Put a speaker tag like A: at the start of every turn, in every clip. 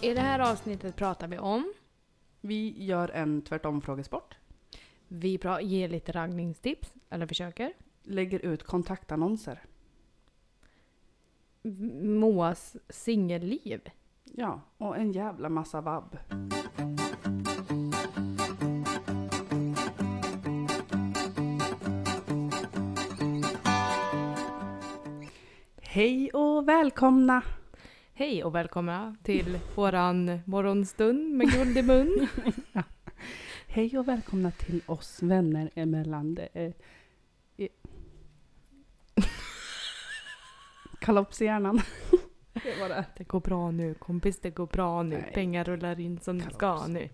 A: här avsnittet pratar vi om.
B: Vi gör en tvärtom-frågesport.
A: Vi pra- ger lite raggningstips, eller försöker.
B: Lägger ut kontaktannonser.
A: Moas singelliv.
B: Ja, och en jävla massa vabb. Hej och välkomna!
A: Hej och välkomna till våran morgonstund med guld i mun.
B: Hej och välkomna till oss vänner emellan. Det är... i- Kalops i hjärnan. Det var det.
A: Det går bra nu kompis, det går bra nu.
B: Nej.
A: Pengar rullar in som det ska
B: Kalops.
A: nu.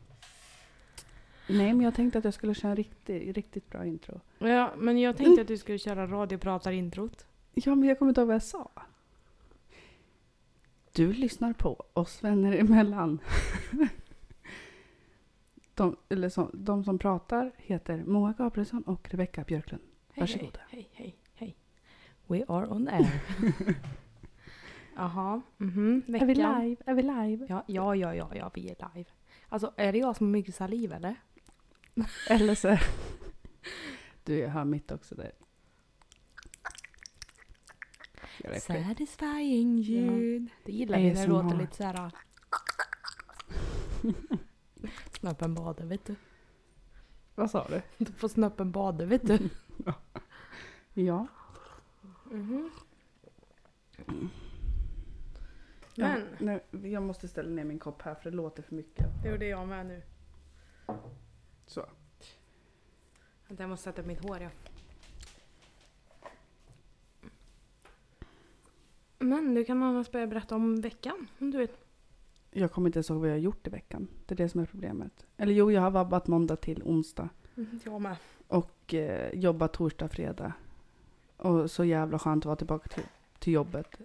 B: Nej, men jag tänkte att jag skulle köra en riktigt, riktigt bra intro.
A: Ja, men jag tänkte att du skulle köra radiopratar-introt.
B: Ja, men jag kommer inte ihåg vad jag sa. Du lyssnar på oss vänner emellan. De, eller som, de som pratar heter Moa Gabrielsson och Rebecka Björklund.
A: Hej,
B: Varsågoda.
A: Hej, hej, hej. We are on air. Jaha, mhm.
B: Är vi
A: veckan.
B: live? Är vi live?
A: Ja, ja, ja, ja, ja, vi är live. Alltså, är det jag som har mycket saliv eller?
B: Eller så... Du, jag hör mitt också där. Jag vet inte.
A: Satisfying ljud. Det gillar vi när det
B: ASMR.
A: låter lite ah. såhär... Snöppen bader, vet du.
B: Vad sa du?
A: Du får snöppen bader, vet du.
B: Ja.
A: Mhm. Men,
B: Ja, nej, jag måste ställa ner min kopp här för det låter för mycket.
A: det gjorde jag med nu.
B: Så.
A: Vänta, jag måste sätta upp mitt hår, ja. Men du kan annars börja berätta om veckan, om du vill.
B: Jag kommer inte ens ihåg vad jag har gjort i veckan. Det är det som är problemet. Eller jo, jag har vabbat måndag till onsdag.
A: Mm, Jag med.
B: Och eh, jobbat torsdag, fredag. Och så jävla skönt att vara tillbaka till, till jobbet.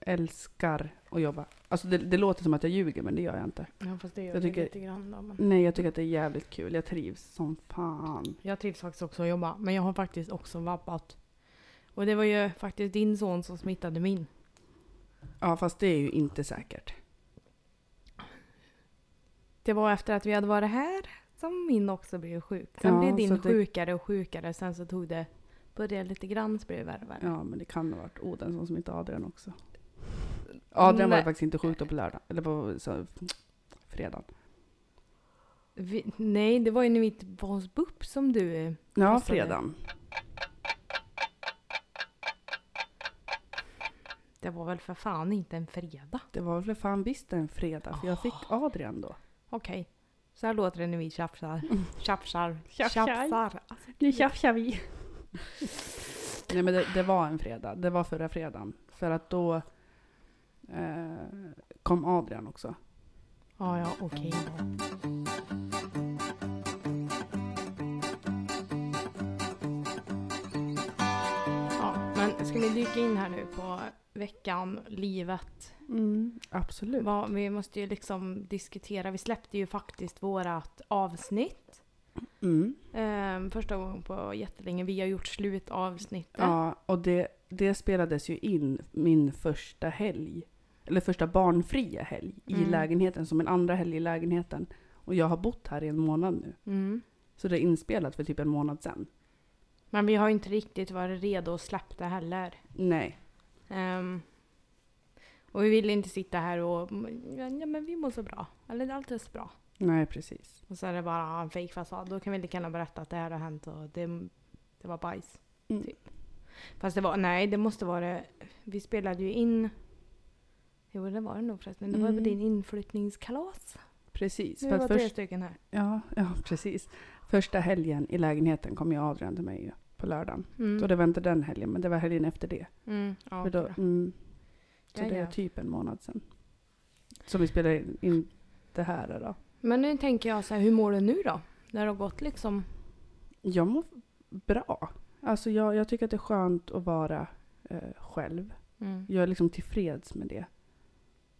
B: Älskar att jobba. Alltså det, det låter som att jag ljuger men det gör jag inte.
A: Ja, fast det gör
B: Jag
A: det
B: tycker-
A: lite grann då, men...
B: Nej, jag tycker att det är jävligt kul. Jag trivs som fan.
A: Jag trivs faktiskt också att jobba, men jag har faktiskt också vabbat. Och det var ju faktiskt din son som smittade min.
B: Ja, fast det är ju inte säkert.
A: Det var efter att vi hade varit här som min också blev sjuk. Sen
B: Ja,
A: blev
B: så
A: din
B: det-
A: sjukare och sjukare, sen så tog det, började lite grann så blev det värre och värre.
B: Ja, men det kan ha varit Odensson som inte Adrian också. Adrian var
A: Nej.
B: ju faktiskt inte sjuk då på lördag. Eller på så, fredagen.
A: Vi, nej, det var ju när vi var hos BUP som du...
B: Ja,
A: Passade.
B: fredagen.
A: Det var väl för fan inte en fredag?
B: Det var väl för fan visst en fredag, för jag fick Adrian då.
A: Okej. Så här låter det när vi tjafsar. Tjafsar.
B: Mm. Tjafsar.
A: Tjafsar. Alltså,
B: Nu tjafsar vi. Nej men det, det var en fredag, det var förra fredagen. För att då eh, kom Adrian också.
A: ja, ja, okej då. Ja, men ska vi dyka in här nu på veckan, livet?
B: Mm, absolut.
A: Vad, vi måste ju liksom diskutera. Vi släppte ju faktiskt vårat avsnitt.
B: Mm.
A: Ehm, första gången på jättelänge. Vi har gjort slutavsnittet.
B: Ja, och det, det spelades ju in min första helg. Eller första barnfria helg i
A: Mm.
B: lägenheten, som en andra helg i lägenheten. Och jag har bott här i en månad nu.
A: Mm.
B: Så det är inspelat för typ en månad sedan.
A: Men vi har ju inte riktigt varit redo att släppa det heller.
B: Nej.
A: Ehm, och vi vill inte sitta här och ja men vi mår så bra. Eller allt är så bra.
B: Nej, precis.
A: Och så är det bara en fake fasad. Då kan vi lika gärna berätta att det här har hänt och det, det var bajs.
B: Mm.
A: Typ. Fast det var, nej det måste vara Vi spelade ju in Jo det var det nog förresten. Det var på
B: Mm.
A: din inflyttningskalas.
B: Precis.
A: Vi
B: för att
A: var tre stycken här.
B: Ja, ja, precis. Första helgen i lägenheten kom ju Adrian till mig ju, på lördagen.
A: Mm.
B: Och det var inte den helgen, men det var helgen efter det.
A: Mm. Ja,
B: För då,
A: okej då.
B: mm, så
A: Ja,
B: det är
A: ja.
B: typ en månad sedan. Som vi spelade in- in det här då.
A: Men nu tänker jag så här, hur mår du nu då? När det har gått liksom
B: Jag mår bra. Alltså jag, jag tycker att det är skönt att vara eh, själv.
A: mm.
B: Jag är liksom tillfreds med det.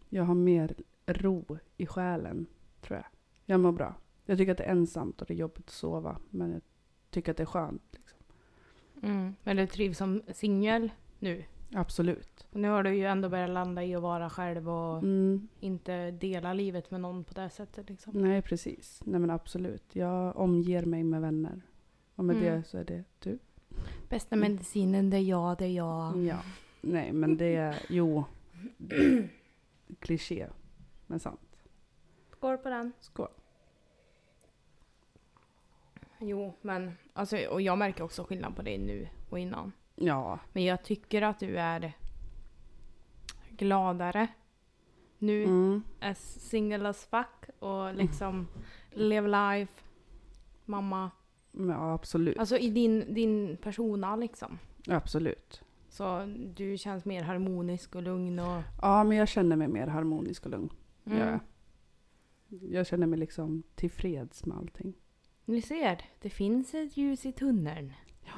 B: Jag har mer ro i själen, tror jag. Jag mår bra. Jag tycker att det är ensamt och det är jobbigt att sova, men jag tycker att det är skönt. Liksom.
A: Mm. Men du trivs som singel nu?
B: Absolut.
A: Och nu har du ju ändå börjat landa i att vara själv och
B: Mm.
A: inte dela livet med någon på det sättet. Liksom.
B: Nej, precis. Nej men absolut. Jag omger mig med vänner. Och med
A: Mm.
B: det så är det du.
A: Bästa medicinen, det är jag, det är jag.
B: Ja. Nej, men det är, jo. Kliché. Men sant.
A: Skål på den.
B: Skål.
A: Jo, men alltså, och jag märker också skillnad på dig nu och innan.
B: Ja.
A: Men jag tycker att du är gladare. Nu
B: Mm.
A: är single as fuck och liksom live life, mamma.
B: Men, Mm. ja, absolut.
A: Alltså i din, din persona liksom.
B: Absolut.
A: Så du känns mer harmonisk och lugn och...
B: Ja, men jag känner mig mer harmonisk och lugn.
A: Mm.
B: Ja. Jag känner mig liksom tillfreds med allting.
A: Ni ser, det finns ett ljus i tunneln. Ja,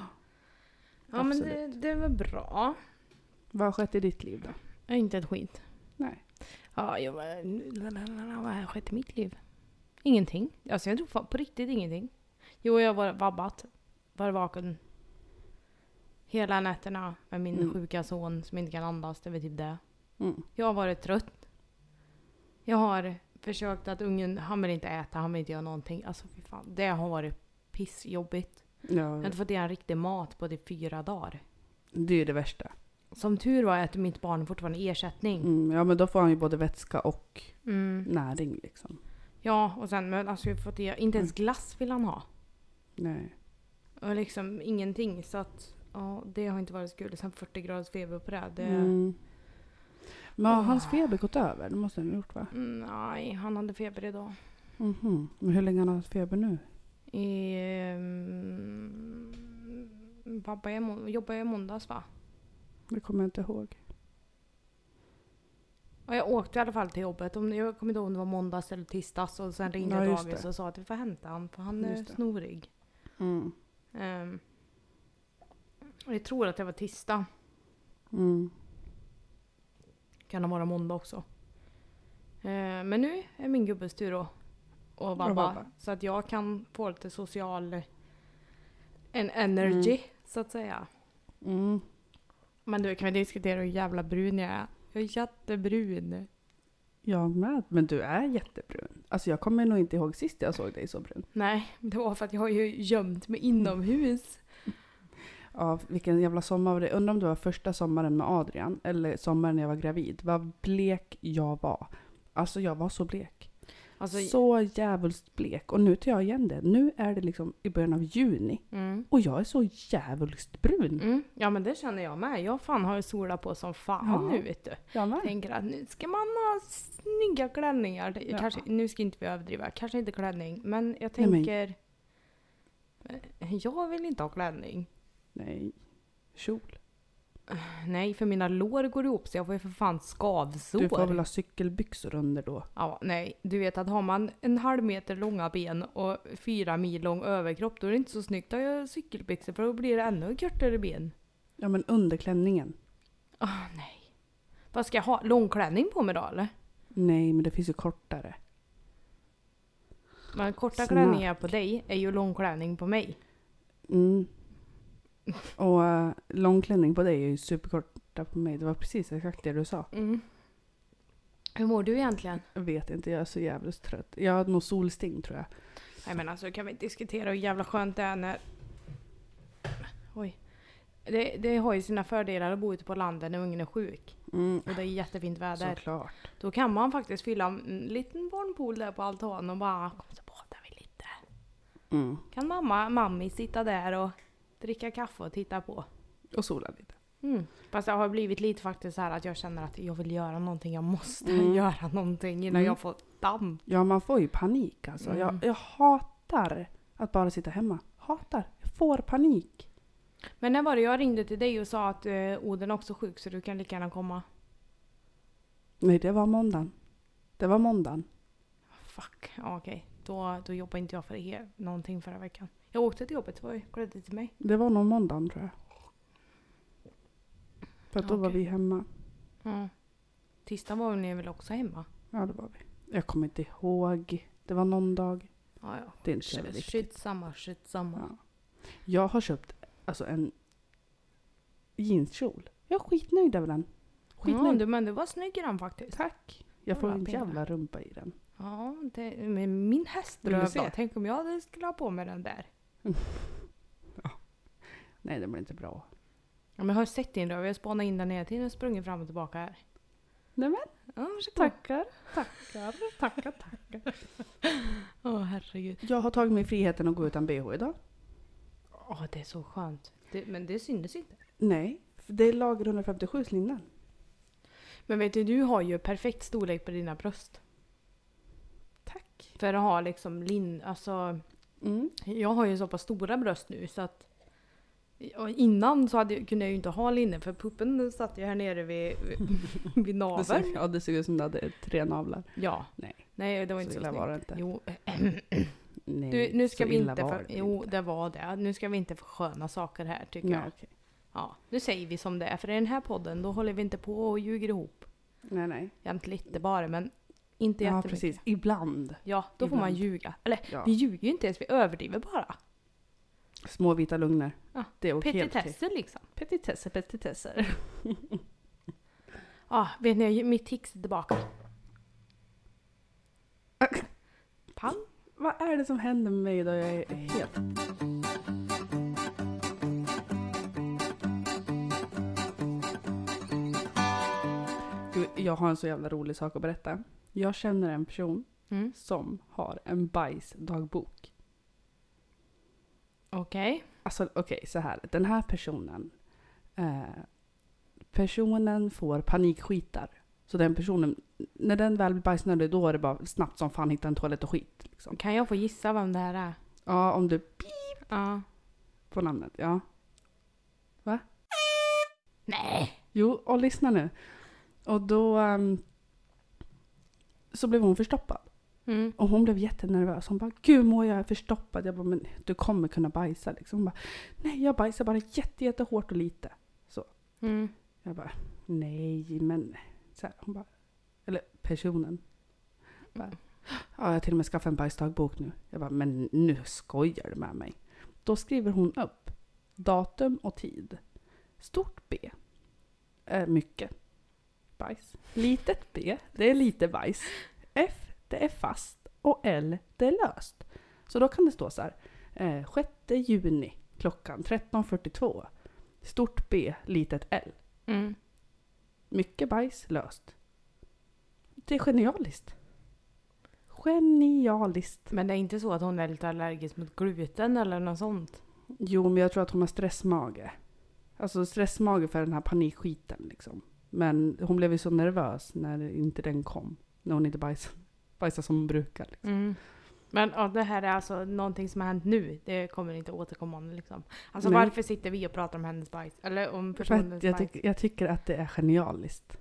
A: ja men det,
B: absolut.
A: det var bra.
B: Vad har skett i ditt liv då?
A: Ja, Inte ett skit.
B: Nej.
A: Ja, jag bara, vad har skett i mitt liv? Ingenting. Alltså jag tror fan på riktigt ingenting. Jo, jag var vabbat. Var vaken. Hela nätterna med min
B: Mm.
A: sjuka son som inte kan andas. Det var typ det.
B: Mm.
A: Jag har varit trött. Jag har försökt att ungen, han vill inte äta, han vill inte göra någonting. Alltså fy fan. Det har varit pissjobbigt. Jag har
B: Ja,
A: inte fått i han riktig mat på typ fyra dagar.
B: det är ju det värsta.
A: Som tur var äter mitt barn fortfarande ersättning.
B: Mm, ja, men då får han ju både vätska och
A: Mm.
B: näring liksom.
A: Ja, och sen men alltså jag har fått i, inte ens glass vill han ha.
B: Nej.
A: Och liksom ingenting. Så att ja, det har inte varit så kul. Sen 40 graders feber på det. det
B: Mm. Men har hans feber gått över? Det måste den ha gjort va?
A: Mm, Nej, han hade feber idag.
B: Mhm. Men hur länge har han haft feber nu?
A: I, ehm, pappa är må- jobbar ju i måndags va?
B: Det kommer jag inte ihåg.
A: Och jag åkte i alla fall till jobbet. Om- Jag kommer inte ihåg om det var måndags eller tisdags. Och sen ringde
B: Ja,
A: jag
B: just
A: dagis
B: det.
A: och sa att vi får hämta han för han är
B: Just det.
A: snorig.
B: Mm.
A: Ehm, och jag tror att det var tisdag.
B: Mm.
A: Kan ha varit måndag också. Eh, men nu är min gubbes tur att och vabba.
B: vabba.
A: Så att jag kan få lite social en energy så att säga.
B: Mm.
A: Men du kan vi diskutera hur jävla brun jag är. Jag är jättebrun.
B: Jag med. Men du är jättebrun. Alltså jag kommer nog inte ihåg sist jag såg dig så brun.
A: Nej, det var för att jag har ju gömt mig inomhus.
B: Ja, vilken jävla sommar var det? Undrar om det var första sommaren med Adrian eller sommaren när jag var gravid. Vad blek jag var. Alltså jag var så blek.
A: Alltså,
B: så jävulst blek. Och nu tar jag igen det. Nu är det liksom i början av juni.
A: Mm.
B: Och jag är så jävulst brun.
A: Mm. Ja men det känner jag med. Jag fan har ju sola på som fan
B: Ja.
A: nu vet du.
B: Jag med.
A: Tänker att nu ska man ha snygga klänningar. Det-
B: Ja.
A: Kanske, nu ska inte vi överdriva, kanske inte klänning. Men jag
B: Nej, men-
A: tänker... eh, Jag vill inte ha klänning.
B: Nej. Kjol.
A: Nej, för mina lår går ihop så jag får ju för fan skavsår.
B: Du får väl ha cykelbyxor under då.
A: Ja, nej, du vet att har man en halv meter långa ben och fyra mil lång överkropp då är det inte så snyggt att ha cykelbyxor för då blir det ännu kortare ben.
B: Ja men under klänningen.
A: Ah, nej. Vad ska jag ha? Långklänning på mig då eller?
B: Nej men det finns ju kortare.
A: Men korta
B: Snack.
A: klänningar på dig är ju långklänning på mig.
B: Mm. Och eh, långklänning på dig är ju superkorta på mig. Det var precis exakt det du sa.
A: Mm. Hur mår du egentligen?
B: Jag vet inte, jag är så jävligt trött. Jag har nog solsting tror jag.
A: Nej men alltså kan vi diskutera hur jävla skönt det är när... Oj. Det, det har ju sina fördelar att bo ute på landet när ungen är sjuk.
B: Mm.
A: Och det är jättefint väder.
B: Såklart.
A: Då kan man faktiskt fylla en liten barnpool där på altanen och bara kom så badar vi lite.
B: Mm.
A: Kan mamma, mammi sitta där och dricka kaffe och titta på.
B: Och sola lite.
A: Mm. Fast det har blivit lite faktiskt så här att jag känner att jag vill göra någonting, jag måste
B: Mm.
A: göra någonting innan
B: Mm.
A: jag får damm.
B: Ja, man får ju panik alltså.
A: Mm.
B: Jag, jag hatar att bara sitta hemma. Hatar. Jag får panik.
A: Men när var det jag ringde till dig och sa att eh, Oden är också sjuk så du kan lika gärna komma?
B: Nej, det var måndagen. Det var måndagen.
A: Fuck, ja, okej. Då, då jobbar inte jag för er någonting förra veckan. Jag åkte till jobbet, det var ju glädje till mig.
B: Det var nog måndagen tror jag. För att då var
A: Okej.
B: vi hemma.
A: Ja. Tisdag var ni väl också hemma?
B: Ja, det var vi. Jag kommer inte ihåg. Det var någon dag.
A: Ja, ja.
B: Det är inte så viktigt.
A: Skitsamma, skitsamma.
B: Ja. Jag har köpt alltså en jeanskjol. Jag är skitnöjd över den.
A: Ja,
B: Skitnöjd.
A: du, men du var snygg i den faktiskt.
B: Tack. Jag får
A: Kolla
B: en
A: på henne.
B: jävla rumpa i den.
A: Ja, det, men min
B: Vill du
A: häströv
B: se?
A: då? Tänk om jag hade skulle ha på mig den där.
B: Nej, det blir inte bra.
A: Ja, men jag har sett din röv. Jag spanade in den hela tiden och sprungit fram och tillbaka här.
B: Nej, men
A: Ja, varsågod.
B: tackar, tackar, tackar, tackar.
A: Åh herregud.
B: Jag har tagit mig friheten att gå utan bh idag.
A: Åh, det är så skönt. Det, men det syndes inte.
B: Nej, för det är lager 157 linnen.
A: Men vet du, du har ju perfekt storlek på dina bröst.
B: Tack.
A: För att ha liksom lin... Alltså,
B: Mm.
A: jag har ju så pass stora bröst nu så att... Och innan så hade, jag- kunde jag ju inte ha linne för puppen satt ju här nere vid, vid- vid
B: Det
A: naveln.
B: ser, ja, det ser ut som du hade tre navlar.
A: Ja.
B: Nej.
A: Nej, det var
B: så
A: inte så,
B: illa
A: snyggt.
B: var det inte.
A: Jo,
B: Nej,
A: du, nu
B: så
A: ska vi
B: illa
A: inte... För,
B: var det
A: jo,
B: inte.
A: det var det. Nu ska vi inte försköna saker här tycker
B: Nej,
A: jag.
B: okej.
A: Ja, nu säger vi som det är. För i den här podden då håller vi inte på och ljuger ihop.
B: nej, nej.
A: Jämt lite bara, men inte
B: ja,
A: jättemycket.
B: precis. Ibland.
A: Ja, då får man
B: Ibland.
A: ljuga. Eller
B: Ja.
A: vi ljuger ju inte ens, vi överdriver bara.
B: Små vita lögner.
A: Ja,
B: Det är okej.
A: Petitesser liksom.
B: Petitesser, petitesser.
A: Ja, vet ni, mitt tics är tillbaka. Pang.
B: Vad är det som händer med mig idag? Jag är helt... Gud, jag har en så jävla rolig sak att berätta. Jag känner en person
A: Mm.
B: som har en bajsdagbok.
A: Okej.
B: Alltså okej, så här. Den här personen. Eh, personen får panikskitar. Så den personen, när den väl blir bajsnödig då är det bara snabbt som fan hitta en toalett och skit. Liksom.
A: Kan jag få gissa vem det här är?
B: Ja, om du
A: Ja.
B: på namnet, ja.
A: Nej!
B: Jo, och lyssna nu. Och då ehm, så blev hon förstoppad.
A: Mm.
B: Och hon blev jättenervös. Hon bara, gud mår jag förstoppad? Jag bara, men du kommer kunna bajsa liksom. Hon bara, nej jag bajsar bara jätte, jättehårt och lite.
A: Mm.
B: Jag bara, nej men. Så här, hon bara, eller personen. Bara, ja, jag har till och med skaffat en bajsdagbok nu. Jag bara, men nu skojar du med mig. Då skriver hon upp datum och tid. Stort B. Är mycket bajs. Litet B, det är lite bajs. F, det är fast. Och L, det är löst. Så då kan det stå så här. Eh, 6 juni klockan 13.42. Stort B, litet L.
A: Mm.
B: Mycket bajs löst. Det är genialiskt. Genialiskt.
A: Men det är inte så att hon är lite allergisk mot gluten eller något sånt?
B: Jo, men jag tror att hon har stressmage. Alltså stressmage för den här panikskiten liksom. Men hon blev ju så nervös när inte den kom. När hon inte bajsade, bajsade som hon brukar. Liksom.
A: Mm. Men ja, det här är alltså någonting som har hänt nu. Det kommer inte återkommande liksom. Alltså
B: Nej.
A: varför sitter vi och pratar om hennes bajs? Eller om
B: För
A: personens
B: att jag,
A: bajs?
B: tyck, jag tycker att det är genialiskt.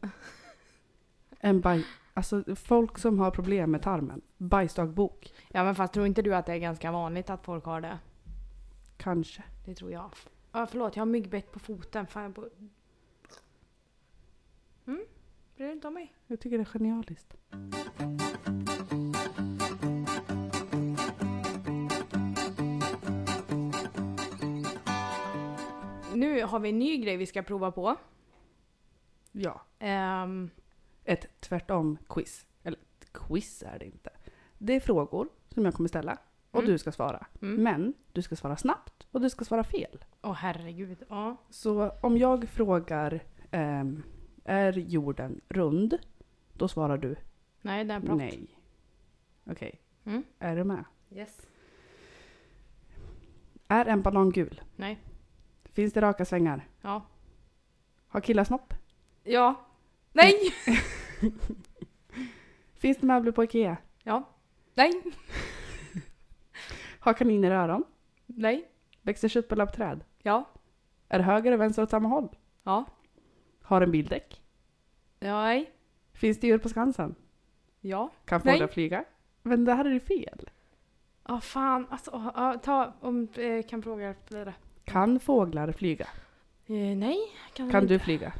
B: En baj... Alltså folk som har problem med tarmen. Bajsdagbok.
A: Ja men fast tror inte du att det är ganska vanligt att folk har det?
B: Kanske.
A: Det tror jag. Ja förlåt, jag har myggbett på foten. Fan jag på... Mm? Bryr du inte om mig?
B: Jag tycker det är genialiskt.
A: Nu har vi en ny grej vi ska prova på.
B: Ja.
A: Ehm,
B: ett tvärtom-quiz. Eller ett quiz är det inte. Det är frågor som jag kommer ställa och
A: Mm.
B: du ska svara.
A: mm.
B: Men du ska svara snabbt och du ska svara fel.
A: Åh herregud. Ja.
B: Så om jag frågar ehm, är jorden rund? Då svarar du
A: Nej, den är bra.
B: nej. Okej,
A: Mm.
B: är du med?
A: Yes.
B: Är en banan gul?
A: Nej.
B: Finns det raka svängar?
A: Ja.
B: Har killar snopp?
A: Ja. Nej!
B: Finns det möbler på Ikea?
A: Ja. Nej.
B: Har kaniner öron?
A: Nej.
B: Växer köttbullar på träd?
A: Ja.
B: Är höger och vänster åt samma håll?
A: Ja.
B: Har en bildäck?
A: Ja. Nej.
B: Finns det djur på Skansen?
A: Ja.
B: Kan
A: Nej.
B: fåglar flyga? Men det här är ju fel.
A: Ja, fan. Alltså, åh, ja, ta om eh, kan fråga blir det.
B: Kan fåglar flyga?
A: Eh, nej. Kan,
B: Kan
A: inte.
B: du flyga?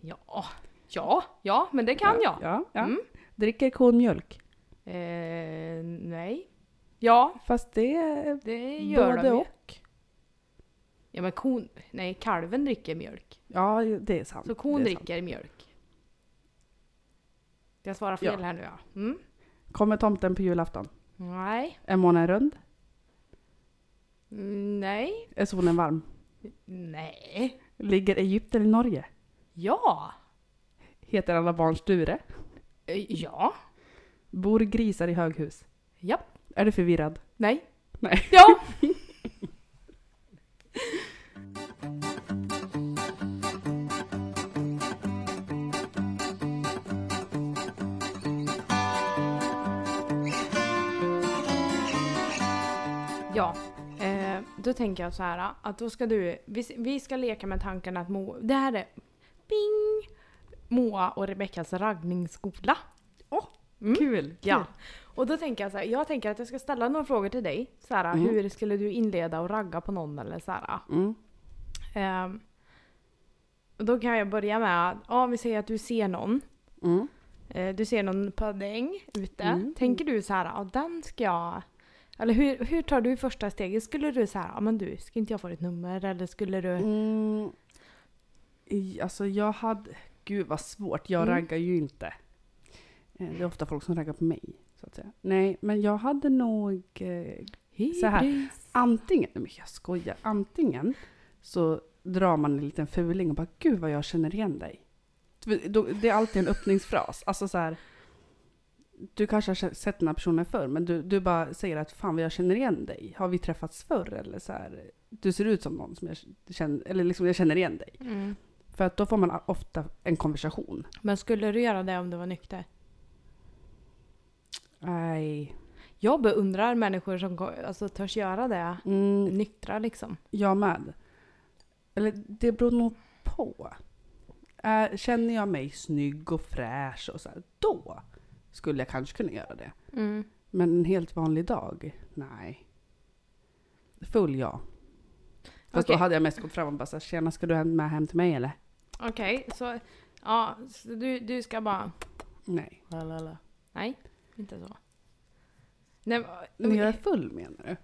A: Ja. Ja. Ja, men det kan jag.
B: Ja. ja.
A: Mm.
B: Dricker kon mjölk?
A: Eh, nej. Ja,
B: Fast det är
A: det gör
B: både
A: de ju.
B: och.
A: Ja men kon, nej kalven dricker mjölk.
B: Ja, det är sant.
A: Så kon
B: det är sant.
A: dricker mjölk. Jag svarar fel
B: Ja.
A: här nu ja. Mm.
B: Kommer tomten på julafton?
A: Nej.
B: Är månen rund?
A: Mm, Nej.
B: Är solen varm?
A: Nej.
B: Ligger Egypten i Norge?
A: Ja.
B: Heter alla barn Sture?
A: Eh, Ja.
B: Bor grisar i höghus?
A: Japp.
B: Är du förvirrad?
A: Nej.
B: Nej.
A: Ja. Ja, eh, då tänker jag så här att då ska du, vi, vi ska leka med tanken att Moa, det här är bing! Moa och Rebeckas raggningsskola. Mm.
B: Kul!
A: Ja. Och då tänker jag så här, jag tänker att jag ska ställa några frågor till dig. Så här,
B: Mm.
A: hur skulle du inleda och ragga på någon eller så här.
B: Mm.
A: Ehm, och då kan jag börja med att, ja vi säger att du ser någon.
B: Mm.
A: Eh, du ser någon pudding ute.
B: Mm.
A: Tänker du så här, ja den ska jag... Eller hur, hur tar du första steget? Skulle du så här, ja men du, ska inte jag få ditt nummer? Eller skulle du...
B: Mm. I- Alltså jag hade... Gud vad svårt, jag
A: Mm.
B: raggar ju inte. Eh, Det är ofta folk som raggar på mig. Så att säga. Nej, men jag hade nog... Eh, så här.
A: Hybris.
B: antingen, nej men jag skojar, antingen så drar man en liten fuling och bara gud vad jag känner igen dig. För då- Det är alltid en öppningsfras. Alltså så här, du kanske har kä- sett den här personen förr men du, du bara säger att fan vad jag känner igen dig. Har vi träffats förr? Eller så här, du ser ut som någon som jag känner, eller liksom jag känner igen dig.
A: Mm.
B: För att då får man a- ofta en konversation.
A: Men skulle du göra det om du var nykter?
B: Nej.
A: Jag beundrar människor som ko- alltså, törs göra det.
B: Mm,
A: Nyktra liksom.
B: jag med. Eller det beror nog på. Äh, känner jag mig snygg och fräsch och så här, då skulle jag kanske kunna göra det.
A: Mm.
B: Men en helt vanlig dag? Nej. Full ja. Fast
A: Okej.
B: då hade jag mest gått fram och bara så här, tjena ska du hem- med hem till mig eller?
A: Okej, så, ja, så du, du ska bara...
B: Nej.
A: Nej, inte så. Nej,
B: Men jag är full menar du?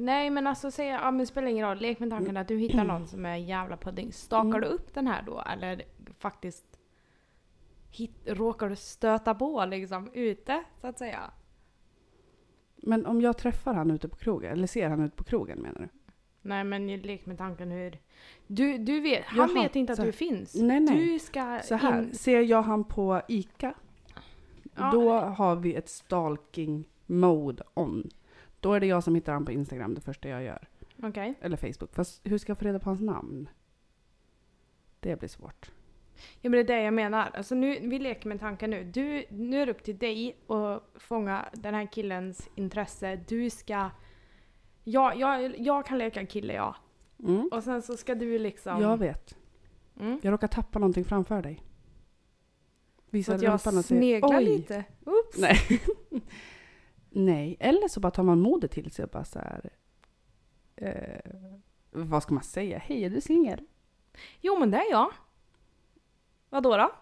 A: nej men alltså säg, ja, men det spelar ingen roll. Lek med tanken att du hittar någon som är jävla pudding. Stakar
B: Mm.
A: du upp den här då eller faktiskt hit, råkar du stöta på liksom ute så att säga?
B: Men om jag träffar han ute på krogen, eller ser han ute på krogen menar du?
A: Nej men lek med tanken hur... Du, du vet, han
B: Jaha,
A: vet inte att
B: så här.
A: du finns.
B: Nej, nej.
A: Du ska
B: Så här,
A: in...
B: ser jag han på ICA,
A: Ja.
B: då har vi ett stalking mode on. Då är det jag som hittar han på Instagram det första jag gör.
A: Okej.
B: Eller Facebook. Fast hur ska jag få reda på hans namn? Det blir svårt.
A: Ja men det är det jag menar. Alltså nu, vi leker med tanken nu. Du, nu är det upp till dig att fånga den här killens intresse. Du ska... Ja, jag, jag kan leka kille ja.
B: Mm.
A: Och sen så ska du liksom...
B: Jag vet.
A: Mm.
B: Jag råkar tappa någonting framför dig.
A: Så
B: Visa
A: att jag
B: rumpan och säg,
A: sneglar
B: "Oj."
A: lite. Oops!
B: Nej. Nej, eller så bara tar man modet till sig och bara så här. Eh, vad ska man säga? Hej, är du singel?
A: Jo men det är jag. Vadå då?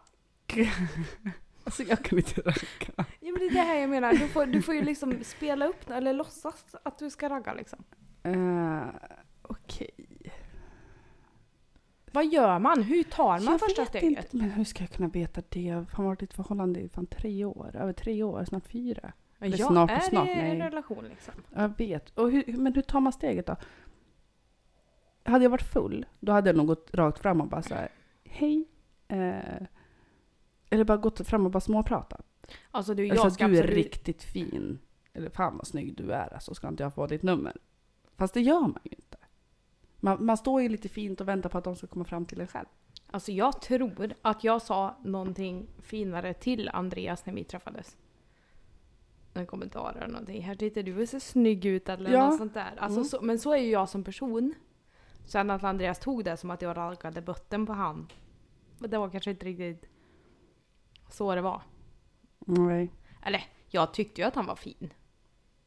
B: Alltså jag kan inte ragga.
A: Ja men det är det här jag menar. Du får, du får ju liksom spela upp eller låtsas att du ska ragga liksom.
B: Eh, Okej.
A: Vad gör man? Hur tar man första
B: vet
A: steget?
B: Inte, men hur ska jag kunna veta det? Jag har varit i ett förhållande i fan tre år. Över tre år, snart fyra.
A: Ja,
B: snart och
A: är
B: snart,
A: det en
B: nej.
A: relation liksom?
B: Jag vet. Och hur, men hur tar man steget då? Hade jag varit full, då hade jag nog gått rakt fram och bara så här, hej. Eh, eller bara gått fram och bara småpratat.
A: Alltså du,
B: Eller så
A: jag
B: att du
A: ska
B: är
A: absolut
B: riktigt fin. Eller fan vad snygg du är, alltså ska inte jag få ditt nummer? Fast det gör man ju inte. Man, man står ju lite fint och väntar på att de ska komma fram till en själv.
A: Alltså jag tror att jag sa någonting finare till Andreas när vi träffades. En kommentar eller någonting. Här tittar du och ser snygg ut eller
B: Ja.
A: något sånt där. Alltså,
B: Mm.
A: så, men så är ju jag som person. Sen att Andreas tog det som att jag raggade bötten på han. Men det var kanske inte riktigt så det var.
B: Nej.
A: Eller jag tyckte ju att han var fin.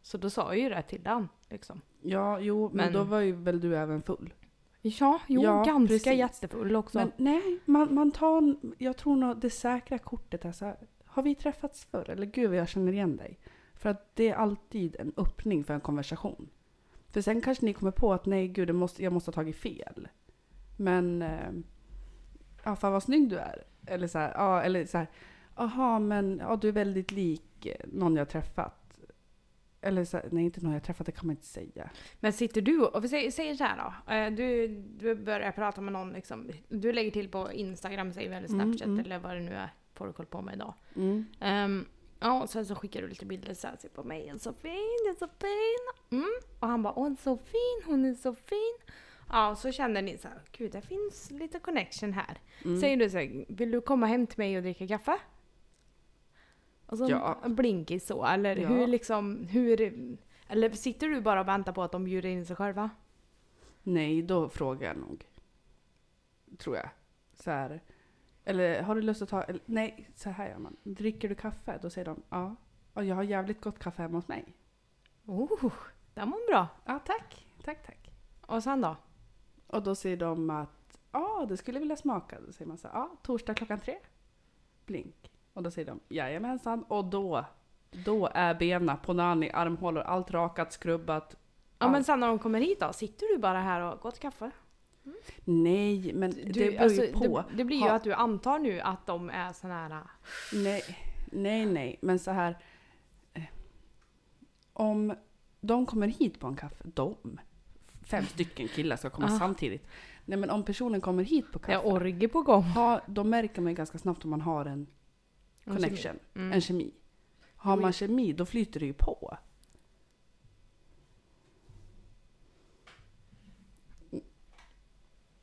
A: Så då sa jag ju det till han. Liksom.
B: Ja, jo, men,
A: Men-
B: då var ju väl du även full.
A: Ja, jo,
B: Ja,
A: ganska
B: precis.
A: jättefull också.
B: Men nej, man, man tar, jag tror nog det säkra kortet är så här, har vi träffats förr? Eller gud vad jag känner igen dig. För att det är alltid en öppning för en konversation. För sen kanske ni kommer på att nej gud, det måste, jag måste ha tagit fel. Men, eh, ja fan vad snygg du är. Eller så här, ja eller så här, aha men ja, du är väldigt lik någon jag har träffat. Eller så här, nej inte någon jag har träffat, det kan man inte säga.
A: Men sitter du och, och vi säger, säger så här då. eh, Du, du börjar prata med någon liksom. Du lägger till på Instagram säger vi, eller
B: Mm,
A: Snapchat
B: mm.
A: eller vad det nu är folk håller på med idag. Ehm, ja, och sen så skickar du lite bilder så här, se på mig, jag är så fin, jag är så fin. Mm. Och han bara, hon är så fin, hon är så fin. Ja, så känner ni så här, gud det finns lite connection här.
B: Mm.
A: Säger du så här, vill du komma hem till mig och dricka kaffe? Och så
B: Ja.
A: blinkar så, eller
B: Ja.
A: hur liksom, hur... Eller sitter du bara och väntar på att de bjuder in sig själva?
B: Nej, då frågar jag nog. Tror jag. Så här. Eller har du lust att ta... Eller, nej, så här gör man. Dricker du kaffe? Då säger de ja. Och jag har jävligt gott kaffe hemma hos mig.
A: Oh, den var bra.
B: Ja, tack. Tack, tack.
A: Och sen då?
B: Och då säger de att ja, det skulle jag vilja smaka. Då säger man så här, ja, torsdag klockan tre. Blink. Och då säger de jajamensan. Och då, då är bena, ponani, armhålor, allt rakat, skrubbat.
A: Ja,
B: Ja.
A: men sen när de kommer hit då, sitter du bara här och gott kaffe? alltså,
B: Nej, men det beror ju på.
A: Det, det blir ju
B: Ha-
A: att du antar nu att de är såna här... äh,
B: Nej, nej, nej. Men så här. eh, Om de kommer hit på en kaffe, de, fem stycken killar ska komma
A: Ah.
B: samtidigt. Nej men om personen kommer hit på
A: Det är
B: kaffe,
A: orgie på gång.
B: ha, då märker man ju ganska snabbt om man har en connection,
A: Mm.
B: en kemi. Har
A: Jo,
B: man
A: ja.
B: kemi, då flyter det ju på.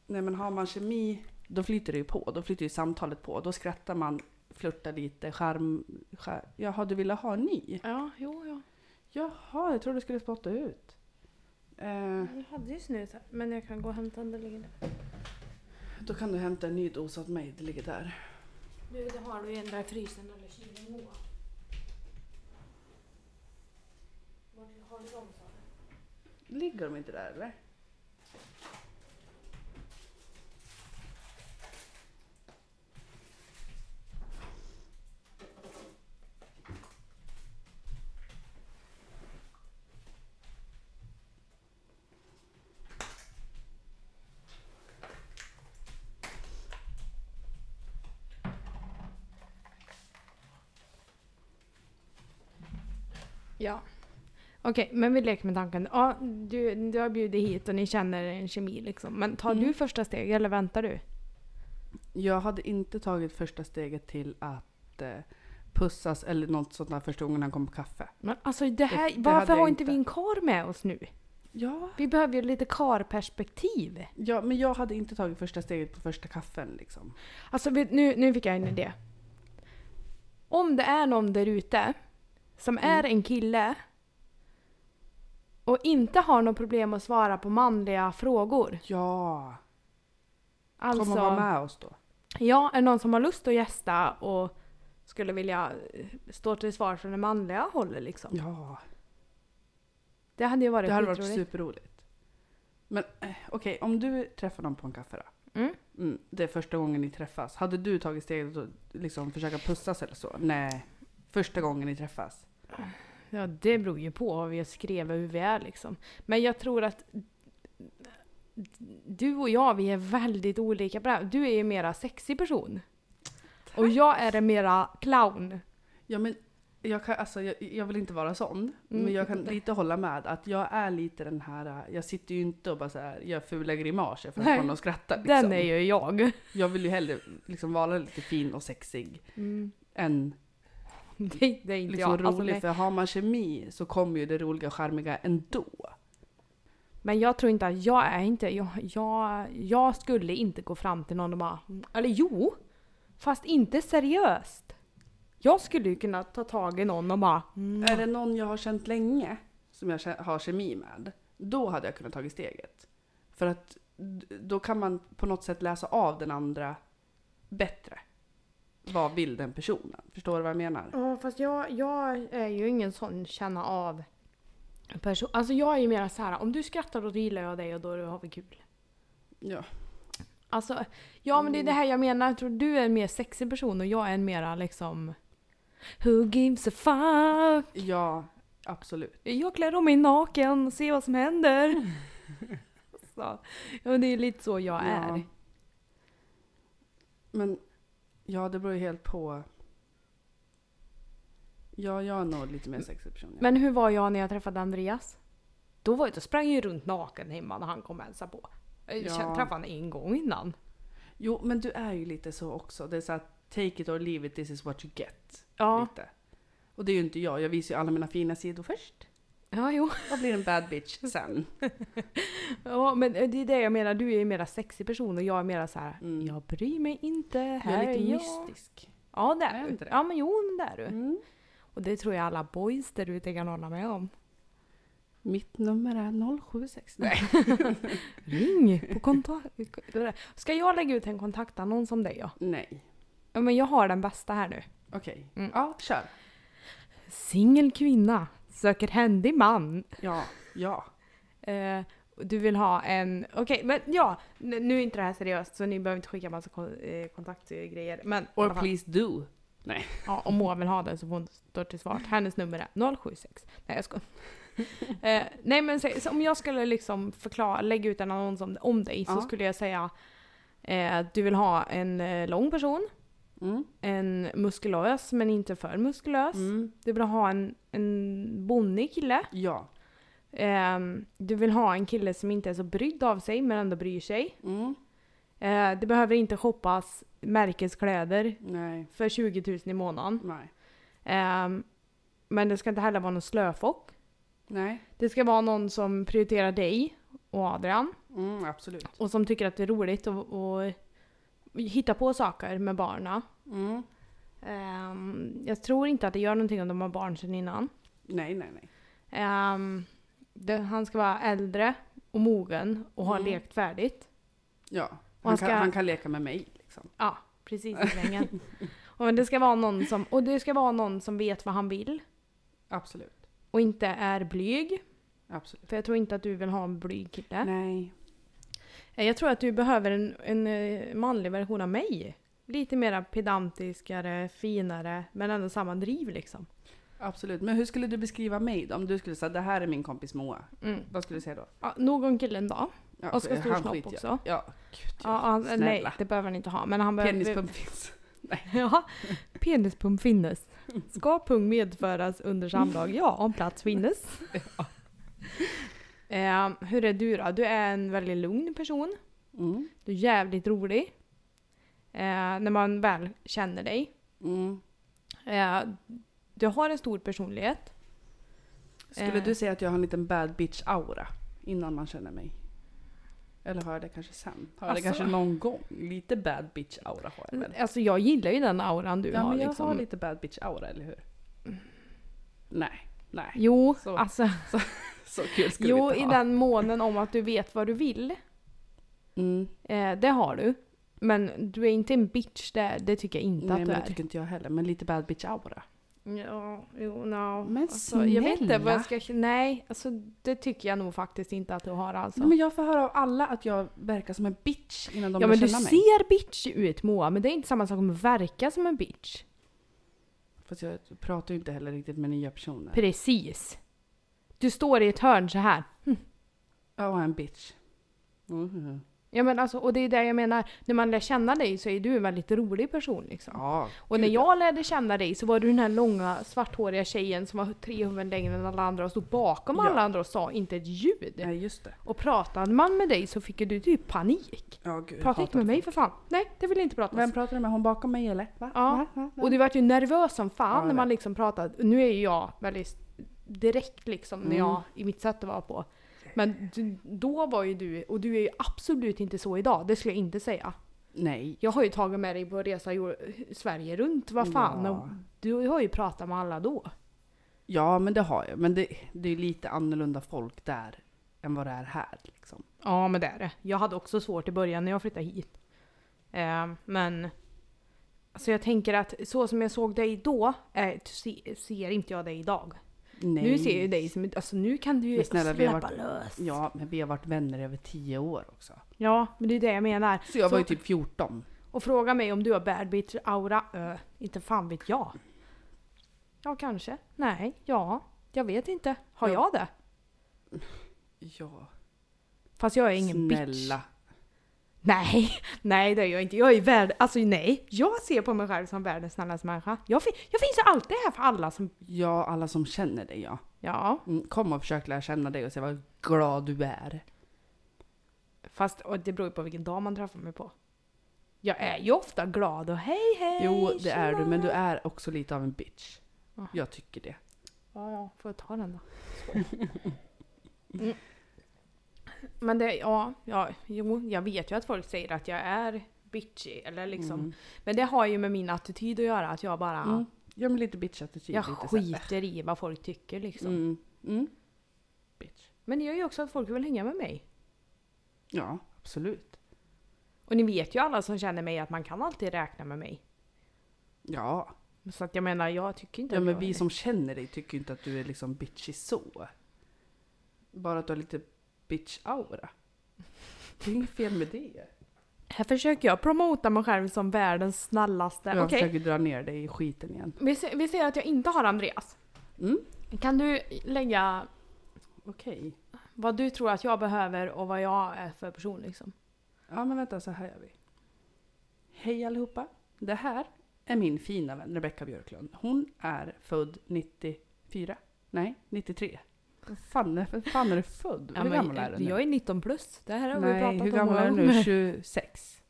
B: Nej men har man kemi, då flyter det ju på. Då flyter ju samtalet på. Då skrattar man, flörtar lite, charm... Skär. Jaha, du ville ha en ny?
A: Ja, jo, ja.
B: Jaha, jag trodde du skulle spotta ut. Eh,
A: Jag hade ju snus här, men jag kan gå och hämta den. Det ligger där.
B: då kan du hämta en ny dos åt mig, det ligger där.
A: Du, det har du ju ändå i frysen eller kylen, Moa. Vart har du dem sa du?
B: Ligger de inte där eller?
A: Ja. Okej, men vi leker med tanken. Ja, du, du har bjudit hit och ni känner en kemi liksom. Men tar
B: Mm.
A: du första steget eller väntar du?
B: Jag hade inte tagit första steget till att eh, pussas eller något sånt där första gången han kom på kaffe.
A: Men alltså det här,
B: Det- det hade
A: varför
B: jag
A: har inte
B: inte.
A: vi en kar med oss nu?
B: Ja.
A: Vi behöver ju lite karperspektiv.
B: ja, men jag hade inte tagit första steget på första kaffen liksom.
A: Alltså vet- nu, nu fick jag en idé. Om det är någon där ute som är en kille och inte har något problem att svara på manliga frågor.
B: Ja, kom och var
A: Alltså,
B: med oss då.
A: ja, är det någon som har lust att gästa och skulle vilja eh, stå till svar från det manliga hållet liksom.
B: Ja,
A: Det hade ju varit
B: det hade varit
A: skitroligt.
B: superroligt. Men eh, okej, om du träffar någon på en kaffe då?
A: Mm.
B: Mm, det är första gången ni träffas. Hade du tagit steget och liksom försöka pussas eller så? Nej, första gången ni träffas.
A: Ja, det beror ju på vad vi skrev och hur vi är liksom. Men jag tror att du och jag, vi är väldigt olika på det här. Du är ju mera sexig person. Och jag är en mera clown.
B: Ja men jag, kan, alltså, jag, jag vill inte vara sån,
A: Mm.
B: men jag kan lite hålla med att jag är lite den här, äh, jag sitter ju inte och bara så här, gör fula grimaser för att
A: Nej,
B: få någon att skratta. Liksom.
A: Den är ju jag.
B: Jag vill ju hellre liksom, vara lite fin och sexig
A: Mm.
B: än
A: Det, det är inte
B: liksom,
A: jag. Alltså,
B: rolig,
A: nej.
B: för har man kemi så kommer ju det roliga och charmiga ändå.
A: men jag tror inte att jag är inte... Jag, jag, jag skulle inte gå fram till någon och bara... Eller jo! Fast inte seriöst. Jag skulle ju kunna ta tag i någon och bara... "Mm,
B: Är det någon jag har känt länge som jag kä- har kemi med, då hade jag kunnat tagit steget. För att d- då kan man på något sätt läsa av den andra bättre. Vad vill den personen? Förstår du vad jag menar?
A: Ja, fast jag, jag är ju ingen sån känna av person. Alltså jag är ju mera så här, om du skrattar då gillar jag dig och då har vi kul.
B: Ja.
A: Alltså, ja men det är det här jag menar. Jag tror du är en mer sexig person och jag är en mera liksom... Who gives a fuck?
B: Ja, Absolut.
A: Jag klär om mig naken och ser vad som händer. så. Ja, men det är lite så jag är.
B: Ja. Men ja, det beror ju helt på. Ja, jag är nog lite mer sexig person. ja.
A: Men hur var jag när jag träffade Andreas? Då, var, då sprang jag ju runt naken hemma när han kom och hälsade på. Jag
B: Ja.
A: träffade honom en gång innan.
B: Jo, men du är ju lite så också. Det är så att take it or leave it, this is what you get.
A: Ja,
B: Lite. Och det är ju inte jag. Jag visar ju alla mina fina sidor först.
A: ja jo.
B: Och blir en bad bitch sen.
A: Ja, men eh, det är det jag menar. Du är ju mera sexig person och jag är mera så här.
B: Mm.
A: Jag bryr mig inte.
B: Jag
A: Här
B: är lite
A: jag.
B: mystisk.
A: Ja, det
B: Är
A: är
B: jag
A: du.
B: inte det?
A: Ja, men jo, men det är du.
B: Mm.
A: Och det tror jag alla boys där ute kan hålla med om.
B: Mitt nummer är 076. Nej.
A: Ring på kontakt. Ska jag lägga ut en kontaktannons om dig? Ja?
B: Nej.
A: ja, men jag har den bästa här nu.
B: Okej.
A: Mm.
B: Ja, kör.
A: Singel kvinna söker händig man.
B: Ja, ja.
A: Eh, du vill ha en... Okej, men ja. n- Nu är inte det här seriöst så ni behöver inte skicka massa kon- eh, kontaktgrejer. Men i alla
B: Or
A: fall,
B: please do.
A: ja, om Moa vill ha den så får hon stå till svars. Hennes nummer är 076. Nej, jag skojar. Eh, nej, men säg- så om jag skulle liksom förklara, lägga ut en annons om, om dig så
B: Ja.
A: skulle jag säga eh, att du vill ha en eh, lång person,
B: Mm.
A: en muskulös men inte för muskulös.
B: Mm.
A: Du vill ha en, en bonnig kille.
B: Ja.
A: Ehm, du vill ha en kille som inte är så brydd av sig men ändå bryr sig.
B: Mm.
A: Eh, det behöver inte shoppas märkeskläder
B: Nej.
A: för 20 000 i månaden.
B: Nej.
A: Ehm, men det ska inte heller vara någon slöfock.
B: Nej.
A: Det ska vara någon som prioriterar dig och Adrian
B: Mm, absolut.
A: och som tycker att det är roligt att att hitta på saker med barna.
B: Mm.
A: Ehm, jag tror inte att det gör någonting om de har barn sedan innan.
B: Nej, nej, nej.
A: Ehm, det, han ska vara äldre och mogen och ha
B: Mm.
A: lekt färdigt.
B: Ja. Han,
A: han
B: kan,
A: ska-
B: han kan leka med mig liksom.
A: Ja, precis i svängen. och, det ska vara någon som, och det ska vara någon som vet vad han vill
B: Absolut.
A: och inte är blyg.
B: Absolut.
A: För jag tror inte att du vill ha en blyg kille.
B: Nej.
A: Eh, Jag tror att du behöver en, en eh, manlig version av mig. Lite mer pedantiskare, finare, men ändå samma driv liksom.
B: Absolut. Men hur skulle du beskriva mig då? Om du skulle säga det här är min kompis Moa.
A: Mm.
B: Vad skulle du säga då?
A: Ja, någon kille en dag.
B: Ja,
A: Och ska
B: han
A: stor snopp
B: skiter jag.
A: också.
B: Ja, gud
A: Ja,
B: ja.
A: han, nej,
B: Snälla.
A: det behöver han inte ha. Men han behöver...
B: Penispump finns.
A: Ja, penispump finnes. Ska pung medföras under samlag? Ja, om plats finnes. Eh, hur är du då? Du är en väldigt lugn person.
B: Mm.
A: Du är jävligt rolig. Eh, när man väl känner dig.
B: Mm.
A: Eh, du har en stor personlighet.
B: Skulle
A: Eh.
B: du säga att jag har en liten bad bitch-aura innan man känner mig? Eller har jag det kanske sen? Har jag det
A: Alltså-
B: kanske någon gång? Lite bad bitch-aura har jag väl?
A: Alltså jag gillar ju den auran du
B: ja,
A: har.
B: men jag
A: liksom.
B: har lite bad bitch-aura, eller hur? Nej, nej.
A: Jo,
B: Så.
A: alltså,
B: Så kul skulle
A: jo
B: vi inte
A: i
B: ha.
A: den månen om att du vet vad du vill.
B: Mm.
A: Eh, det har du. Men du är inte en bitch, det, det tycker jag inte
B: Nej,
A: att
B: men
A: du
B: det
A: är.
B: tycker inte jag heller. Men lite bad bitch-aura.
A: Ja, jo, no.
B: Men
A: Jag vet inte vad jag
B: snälla.
A: ska... Nej, alltså det tycker jag nog faktiskt inte att du har alltså.
B: Nej, men jag får höra av alla att jag verkar som en bitch innan de
A: ja
B: lär
A: men du
B: känna mig.
A: ser bitch ut Moa, men det är inte samma sak som att verka som en bitch.
B: Fast jag pratar ju inte heller riktigt med nya personer.
A: Precis. Du står i ett hörn så här.
B: Ja, och en bitch. Mhm.
A: Ja men alltså, och det är det jag menar. När man lär känna dig så är du en väldigt rolig person liksom.
B: Ja,
A: Och när jag lärde känna dig så var du den här långa svarthåriga tjejen som var tre huvuden längre än alla andra och stod bakom
B: Ja.
A: alla andra och sa inte ett ljud.
B: Ja, just det.
A: Och pratade man med dig så fick ju du typ panik.
B: Ja, gud,
A: Prata
B: jag
A: inte med
B: hatar
A: mig för fan. Nej, det vill jag inte prata
B: Vem
A: med.
B: pratar du med? Hon bakom mig eller? Va?
A: Ja.
B: Va? Va? Va?
A: Och du vart ju nervös som fan
B: Ja,
A: när
B: jag
A: man liksom pratade. Nu är ju jag väldigt direkt liksom när
B: Mm.
A: jag, i mitt sätt att vara på. Men du, då var ju du, och du är ju absolut inte så idag, det skulle jag inte säga.
B: Nej.
A: Jag har ju tagit med dig på resa jord, Sverige runt, vad fan.
B: Ja.
A: Och du har ju pratat med alla då.
B: Ja, men det har jag. Men det, det är lite annorlunda folk där än vad det är här. Liksom.
A: Ja men det är det. Jag hade också svårt i början när jag flyttade hit. Eh, men alltså jag tänker att så som jag såg dig då, eh, se, ser inte jag dig idag.
B: Nej.
A: Nu ser jag ju dig som, alltså nu kan du ju
B: Men snälla, vi har
A: släppa
B: varit-
A: lös.
B: Ja, men vi har varit vänner i över tio år också.
A: Ja, men det är det jag menar.
B: Så jag var ju
A: Så-
B: typ 14.
A: Och fråga mig om du har bad bitch aura, ö, inte fan vet jag. Ja kanske, nej, ja. Jag vet inte. Har
B: Ja.
A: jag det?
B: Ja,
A: Fast jag är ingen bitch.
B: snälla.
A: Nej, nej det är jag inte. Jag är värd, alltså nej. Jag ser på mig själv som världens snällaste människa. Jag, fin- jag finns ju alltid här för alla som...
B: Ja, alla som känner dig ja.
A: Ja,
B: Mm, kom och försök lära känna dig och se vad glad du är.
A: fast och det beror ju på vilken dag man träffar mig på. Jag är ju ofta glad och hej hej!
B: Jo, det är du,
A: tjena.
B: men du är också lite av en bitch.
A: Ah.
B: Jag tycker det.
A: Ja, ja, får jag ta den då? Mm. Men det, ja, ja, jo, jag vet ju att folk säger att jag är bitchy eller liksom.
B: Mm.
A: Men det har ju med min attityd att göra, att jag bara,
B: Mm. Ja, men lite bitch-attityd.
A: jag
B: lite så här, äh,
A: skiter i vad folk tycker liksom.
B: Mm. Mm. Bitch.
A: Men det gör ju också att folk vill hänga med mig.
B: Ja, absolut.
A: Och ni vet ju alla som känner mig att man kan alltid räkna med mig.
B: Ja,
A: Så att jag menar, jag tycker inte
B: ja
A: att
B: men
A: jag
B: vi
A: är-
B: som känner dig tycker ju inte att du är liksom bitchy så. Bara att du har lite bitch-aura. Det är inget fel med det.
A: Här försöker jag promota mig själv som världens snällaste.
B: Jag
A: Okej,
B: försöker dra ner dig i skiten igen.
A: vi, se- vi säger att jag inte har Andreas.
B: Mm.
A: Kan du lägga
B: Okej.
A: vad du tror att jag behöver och vad jag är för person liksom.
B: Ja men vänta, så här gör vi. Hej allihopa! Det här är min fina vän Rebecka Björklund. Hon är född 94. Nej, 93. Vad fan är, vad fan är du född? hur gammal är du nu?
A: jag är 19 plus. Det här har vi
B: Nej,
A: pratat
B: hur
A: om
B: gammal
A: många
B: är du nu?
A: gånger.
B: 26?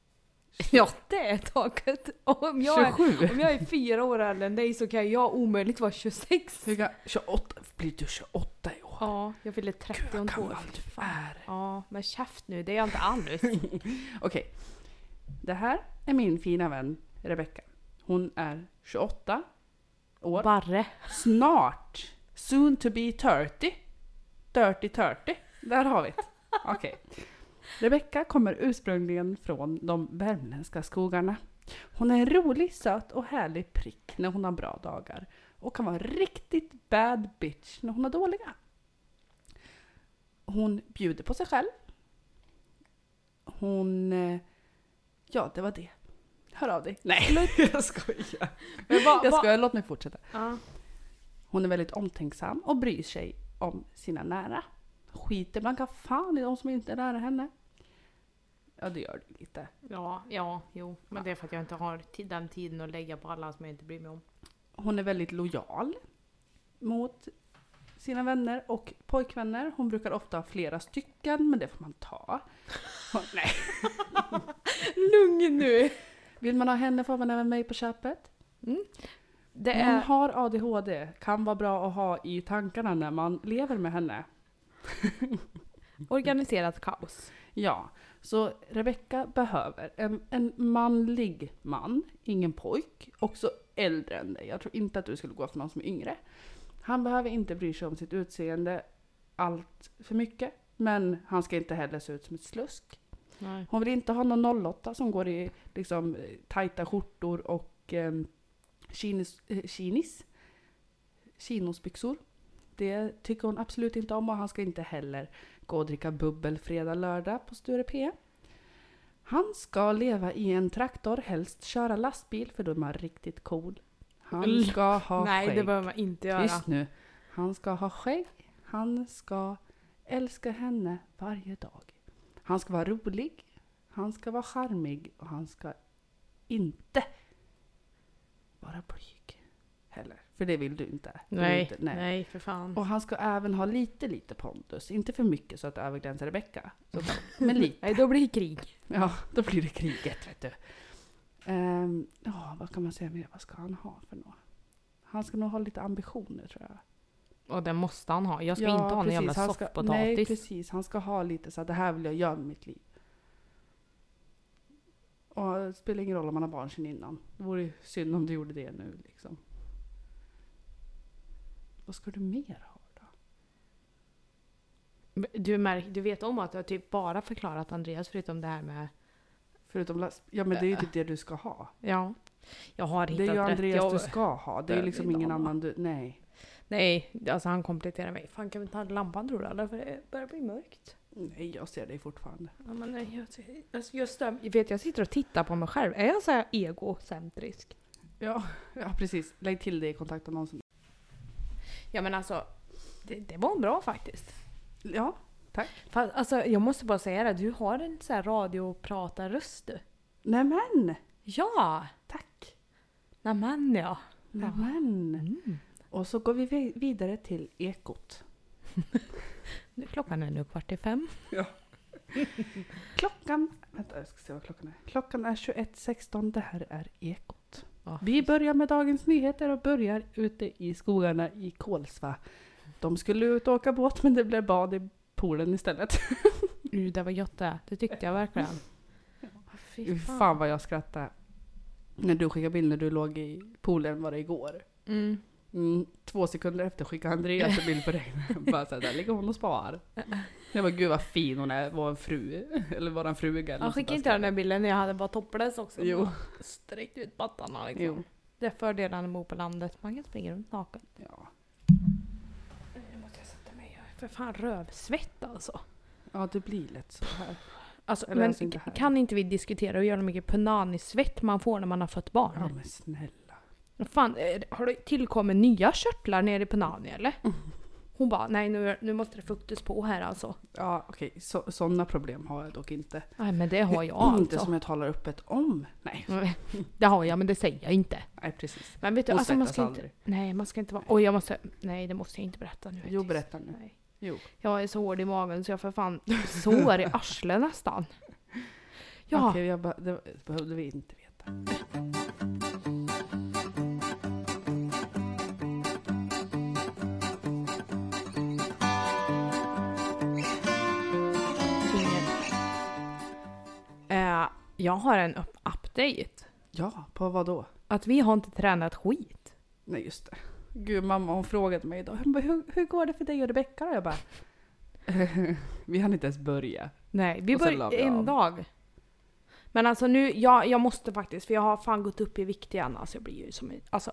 A: Ja, det är taket. Om jag,
B: 27?
A: om jag är fyra år äldre än dig så kan jag omöjligt vara 26.
B: Hur ga- 28? Blir du 28 i år?
A: Ja, jag fyller 30
B: Gud,
A: om
B: vad
A: två år.
B: gammal
A: Fy
B: du
A: fan.
B: är.
A: Ja, men käft nu, det är jag inte alls.
B: Okej. Det här är min fina vän Rebecka. Hon är 28 år.
A: Barre.
B: Snart. Soon to be 30. Dirty 30. Där har vi det. Okej. Rebecka kommer ursprungligen från de värmländska skogarna. Hon är en rolig, söt och härlig prick när hon har bra dagar. Och kan vara riktigt bad bitch när hon har dåliga. Hon bjuder på sig själv. Hon... eh, Ja, det var det. Hör av dig. Nej, jag skojar.
A: Men vad-
B: Jag
A: vad-
B: skojar, låt mig fortsätta.
A: Ja.
B: Hon är väldigt omtänksam och bryr sig om sina nära. Skiter man kan fan i de som inte är nära henne. Ja, det gör det lite.
A: ja, ja, jo. Men det är för att jag inte har tid- den tiden att lägga på alla som jag inte bryr mig om.
B: Hon är väldigt lojal mot sina vänner och pojkvänner. Hon brukar ofta ha flera stycken, men det får man ta. Hon, nej.
A: Lugn nu!
B: Vill man ha henne får man även mig på köpet.
A: Mm. Det
B: Hon
A: är...
B: har ADHD, kan vara bra att ha i tankarna när man lever med henne.
A: Organiserat kaos.
B: Ja, så Rebecka behöver en, en manlig man, ingen pojk, också äldre än dig. Jag tror inte att du skulle gå för någon som är yngre. Han behöver inte bry sig om sitt utseende allt för mycket, men han ska inte heller se ut som ett slusk.
A: Nej.
B: Hon vill inte ha någon 08 som går i liksom eh, tajta skjortor och eh, chinis, eh, chinis, chinosbyxor. Det tycker hon absolut inte om och han ska inte heller gå och dricka bubbel fredag, lördag på Sture P. Han ska leva i en traktor, helst köra lastbil för då är man riktigt cool. Han
A: L-
B: ska ha
A: Nej, det
B: skägg.
A: behöver man inte göra.
B: Tyst nu. Han ska ha skägg. Han ska älska henne varje dag. Han ska vara rolig. Han ska vara charmig. Och han ska inte vara blyg. Heller. För det vill du inte. Du vill
A: Nej,
B: inte
A: nej, för fan.
B: Och han ska även ha lite, lite pondus. Inte för mycket så att det överglänser Rebecka. såklart. Men lite.
A: Nej, då blir det krig.
B: Ja, då blir det kriget vet du. Ehm, Ja, vad kan man säga mer? Vad ska han ha för något? Han ska nog ha lite ambitioner tror jag.
A: Och det måste han ha. Jag ska
B: Ja,
A: inte ha någon jävla
B: precis. Han ska- Nej,
A: soffpotatis.
B: precis. Han ska ha lite så att det här vill jag göra med mitt liv. Och det spelar ingen roll om man har barn sedan innan. Det vore ju synd om du gjorde det nu liksom. Vad ska du mer ha då?
A: Du, märk, du vet om att jag typ bara förklarat Andreas förutom det här med...
B: Förutom last... Ja men det är ju typ det du ska ha.
A: Ja. Jag har
B: Det
A: hittat
B: är ju
A: rätt. jag,
B: Andreas du ska ha. Det är ju
A: Jag
B: liksom
A: vill
B: ingen
A: ha.
B: annan du... Nej.
A: Nej, alltså han kompletterar mig. Fan kan vi ta lampan tror du eller? För det börjar bli mörkt.
B: Nej, jag ser dig fortfarande.
A: Ja, men nej, jag, alltså jag, stör, jag vet jag sitter och tittar på mig själv. Är jag så här egocentrisk?
B: Ja, ja precis. Lägg till det i kontaktannonsen.
A: Ja men alltså, Det, det var bra faktiskt.
B: Ja,
A: Fast, alltså, jag måste bara säga det, du har en så här radiopratarröst du.
B: nämen!
A: Ja!
B: Tack!
A: Nämen ja.
B: Nämen!
A: Mm.
B: Och så går vi vi- vidare till Ekot.
A: Nu klockan är nu kvart i fem.
B: Klockan... Vänta, jag ska se vad klockan är. Klockan är 21.16. Det här är Ekot.
A: Ja.
B: Vi börjar med Dagens Nyheter och börjar ute i skogarna i Kolsva. De skulle ut och åka båt men det blev bad i poolen istället.
A: Nu, det var gött det. Det tyckte jag verkligen.
B: Fy
A: Fy
B: fan vad jag skrattade. När du skickade bild när du låg i poolen var det igår.
A: Mm.
B: Mm, två sekunder efter skickade Andreas en bild på dig. Bara såhär, där ligger hon och spar. Jag bara, gud vad fin hon är, vår fru. Eller vår fruga. eller
A: Jag
B: något sånt
A: skickade
B: där
A: inte den där bilden när jag hade bara topless också.
B: Jo.
A: Sträckt ut pattarna liksom.
B: Jo.
A: Det är fördelen med att bo på landet. Man kan springa runt naken.
B: Ja.
A: Nu måste jag sätta mig. Jag är för fan rövsvett alltså.
B: ja, det blir lätt så här.
A: alltså
B: Eller
A: men
B: alltså inte här.
A: kan inte vi diskutera och göra hur mycket punanisvett man får när man har fött barn?
B: Ja men snälla.
A: Fan, eh, har det tillkommit nya körtlar nere i Penani eller? Hon bara, nej nu, nu måste det fuktas på här alltså.
B: Ja okej, så, sådana problem har jag dock inte.
A: Nej men det har jag
B: Inte som
A: alltså.
B: jag talar öppet om. Nej,
A: Mm, Det har jag men det säger jag inte.
B: nej precis.
A: Men vet du,
B: Hon
A: alltså man
B: svettas
A: ska inte...
B: aldrig.
A: Nej man ska inte vara... Oj jag måste... Nej det måste jag inte berätta nu.
B: Jo berätta nu.
A: Nej.
B: Jo.
A: Jag är så hård i magen så jag får fan sår i arslet nästan. Ja,
B: Okej, jag bara, det behövde vi inte veta.
A: ingen. Eh, jag har en up- update.
B: Ja, på vad då?
A: Att vi har inte tränat skit.
B: Nej just det. Gud mamma hon frågade mig idag. Hon bara, hur, hur går det för dig och Rebecka då? Jag bara. vi hann inte ens börja.
A: Nej, vi
B: Och sen la
A: började
B: vi
A: en
B: av.
A: dag. Men alltså nu, jag, jag måste faktiskt, för jag har fan gått upp i vikt igen. Alltså jag blir ju som en- alltså,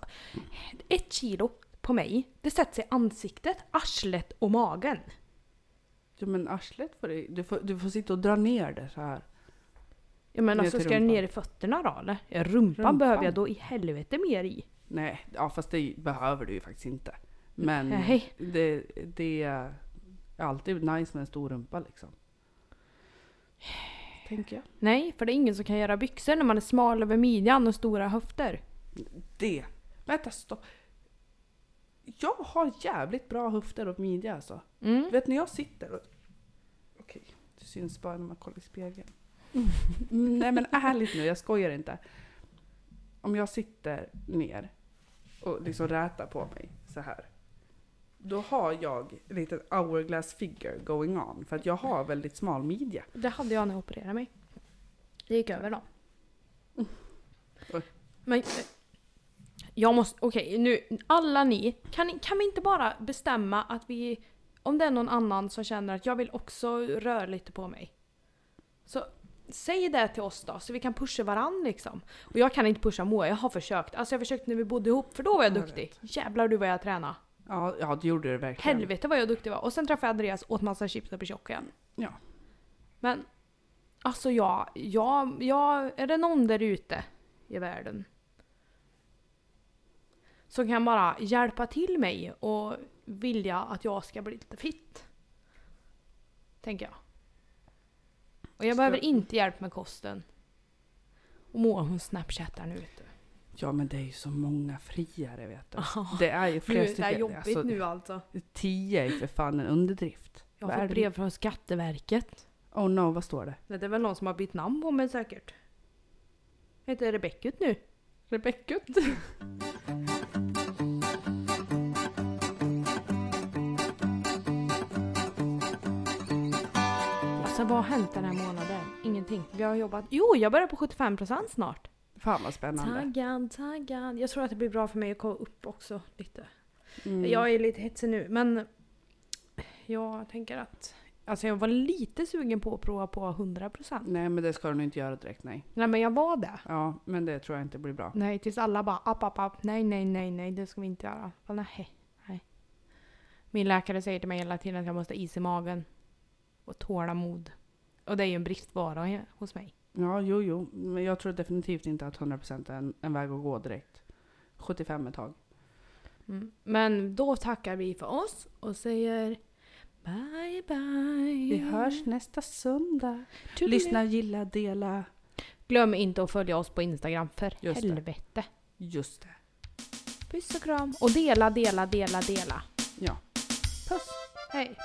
A: ett kilo på mig, det sätter sig i ansiktet, arslet och magen.
B: Jo men arslet får du, du får, du får sitta och dra ner det så här.
A: Jag menar,
B: Ner
A: alltså,
B: till
A: ska jag
B: rumpan.
A: ner i fötterna då eller? Ja, Rumpan,
B: Rumpan.
A: behöver jag då i helvete mer i.
B: Nej, ja fast det behöver du ju faktiskt inte. Men
A: Nej.
B: det, det är alltid nice med en stor rumpa liksom. Tänker jag.
A: Nej, för det är ingen som kan göra byxor när man är smal över midjan och stora höfter.
B: Det. Vänta stopp. Jag har jävligt bra höfter och midja alltså.
A: Mm.
B: Vet ni, jag sitter och... Okej, det syns bara när man kollar i spegeln.
A: Mm.
B: Nej men ärligt nu, jag skojar inte. Om jag sitter ner och liksom rätar på mig så här. Då har jag en liten hourglass figure going on. För att jag har väldigt smal midja.
A: Det hade jag när jag opererade mig. Det gick över då.
B: Oj.
A: Men... eh, Jag måste... Okej, nu... Alla ni. Kan, ni- kan vi inte bara bestämma att vi... Om det är någon annan som känner att jag vill också röra lite på mig. Så säg det till oss då, så vi kan pusha varandra liksom. Och jag kan inte pusha Moa, jag har försökt. Alltså jag försökte när vi bodde ihop, för då var jag
B: Jag
A: duktig. Jävlar du vad jag tränade.
B: Ja, ja det gjorde det verkligen.
A: Helvete vad jag duktig var. Och sen träffade jag Andreas åt massa chips och blev tjock igen.
B: Ja.
A: Men alltså jag, jag, jag, är det någon där ute i världen som kan bara hjälpa till mig och vilja att jag ska bli lite fitt? Tänker jag. Och jag
B: Ska-
A: behöver inte hjälp med kosten. Och Moa hon snapchattar nu ute.
B: Ja men det är ju så många friare vet du.
A: Oh,
B: Det är ju
A: nu
B: flera
A: är det här jobbigt
B: alltså,
A: nu alltså.
B: Tio är ju för fan en underdrift.
A: Jag
B: Vad
A: har
B: är
A: fått
B: det?
A: brev från Skatteverket.
B: Oh no, vad står det?
A: Det är väl någon som har bytt namn på mig säkert. Heter Rebecka ut nu?
B: Rebeckut.
A: Alltså vad har hänt den här månaden? Ingenting. Vi har jobbat... Jo, jag börjar på 75% snart.
B: Fan vad spännande.
A: Taggad, taggad. Jag tror att det blir bra för mig att komma upp också lite.
B: Mm.
A: Jag är lite hetsig nu, men jag tänker att... Alltså jag var lite sugen på att prova på 100%.
B: Nej men det ska du nog inte göra direkt nej.
A: Nej men jag var det.
B: Ja men det tror jag inte blir bra.
A: Nej, tills alla bara app, app, app. Nej, nej, nej, nej, det ska vi inte göra. Bara, nej, nej. Min läkare säger till mig hela tiden att jag måste ha is i magen. Och tålamod. Och det är ju en bristvara he- hos mig.
B: Ja jo jo. Men jag tror definitivt inte att 100% är en, en väg att gå direkt. 75 ett tag.
A: Mm. Men då tackar vi för oss och säger bye bye.
B: Vi hörs nästa söndag.
A: Tjolilu.
B: Lyssna, gilla, dela.
A: Glöm inte att följa oss på Instagram för
B: Just det.
A: helvete.
B: Just det.
A: Puss och kram. Och dela, dela, dela, dela.
B: Ja.
A: Puss. Hej.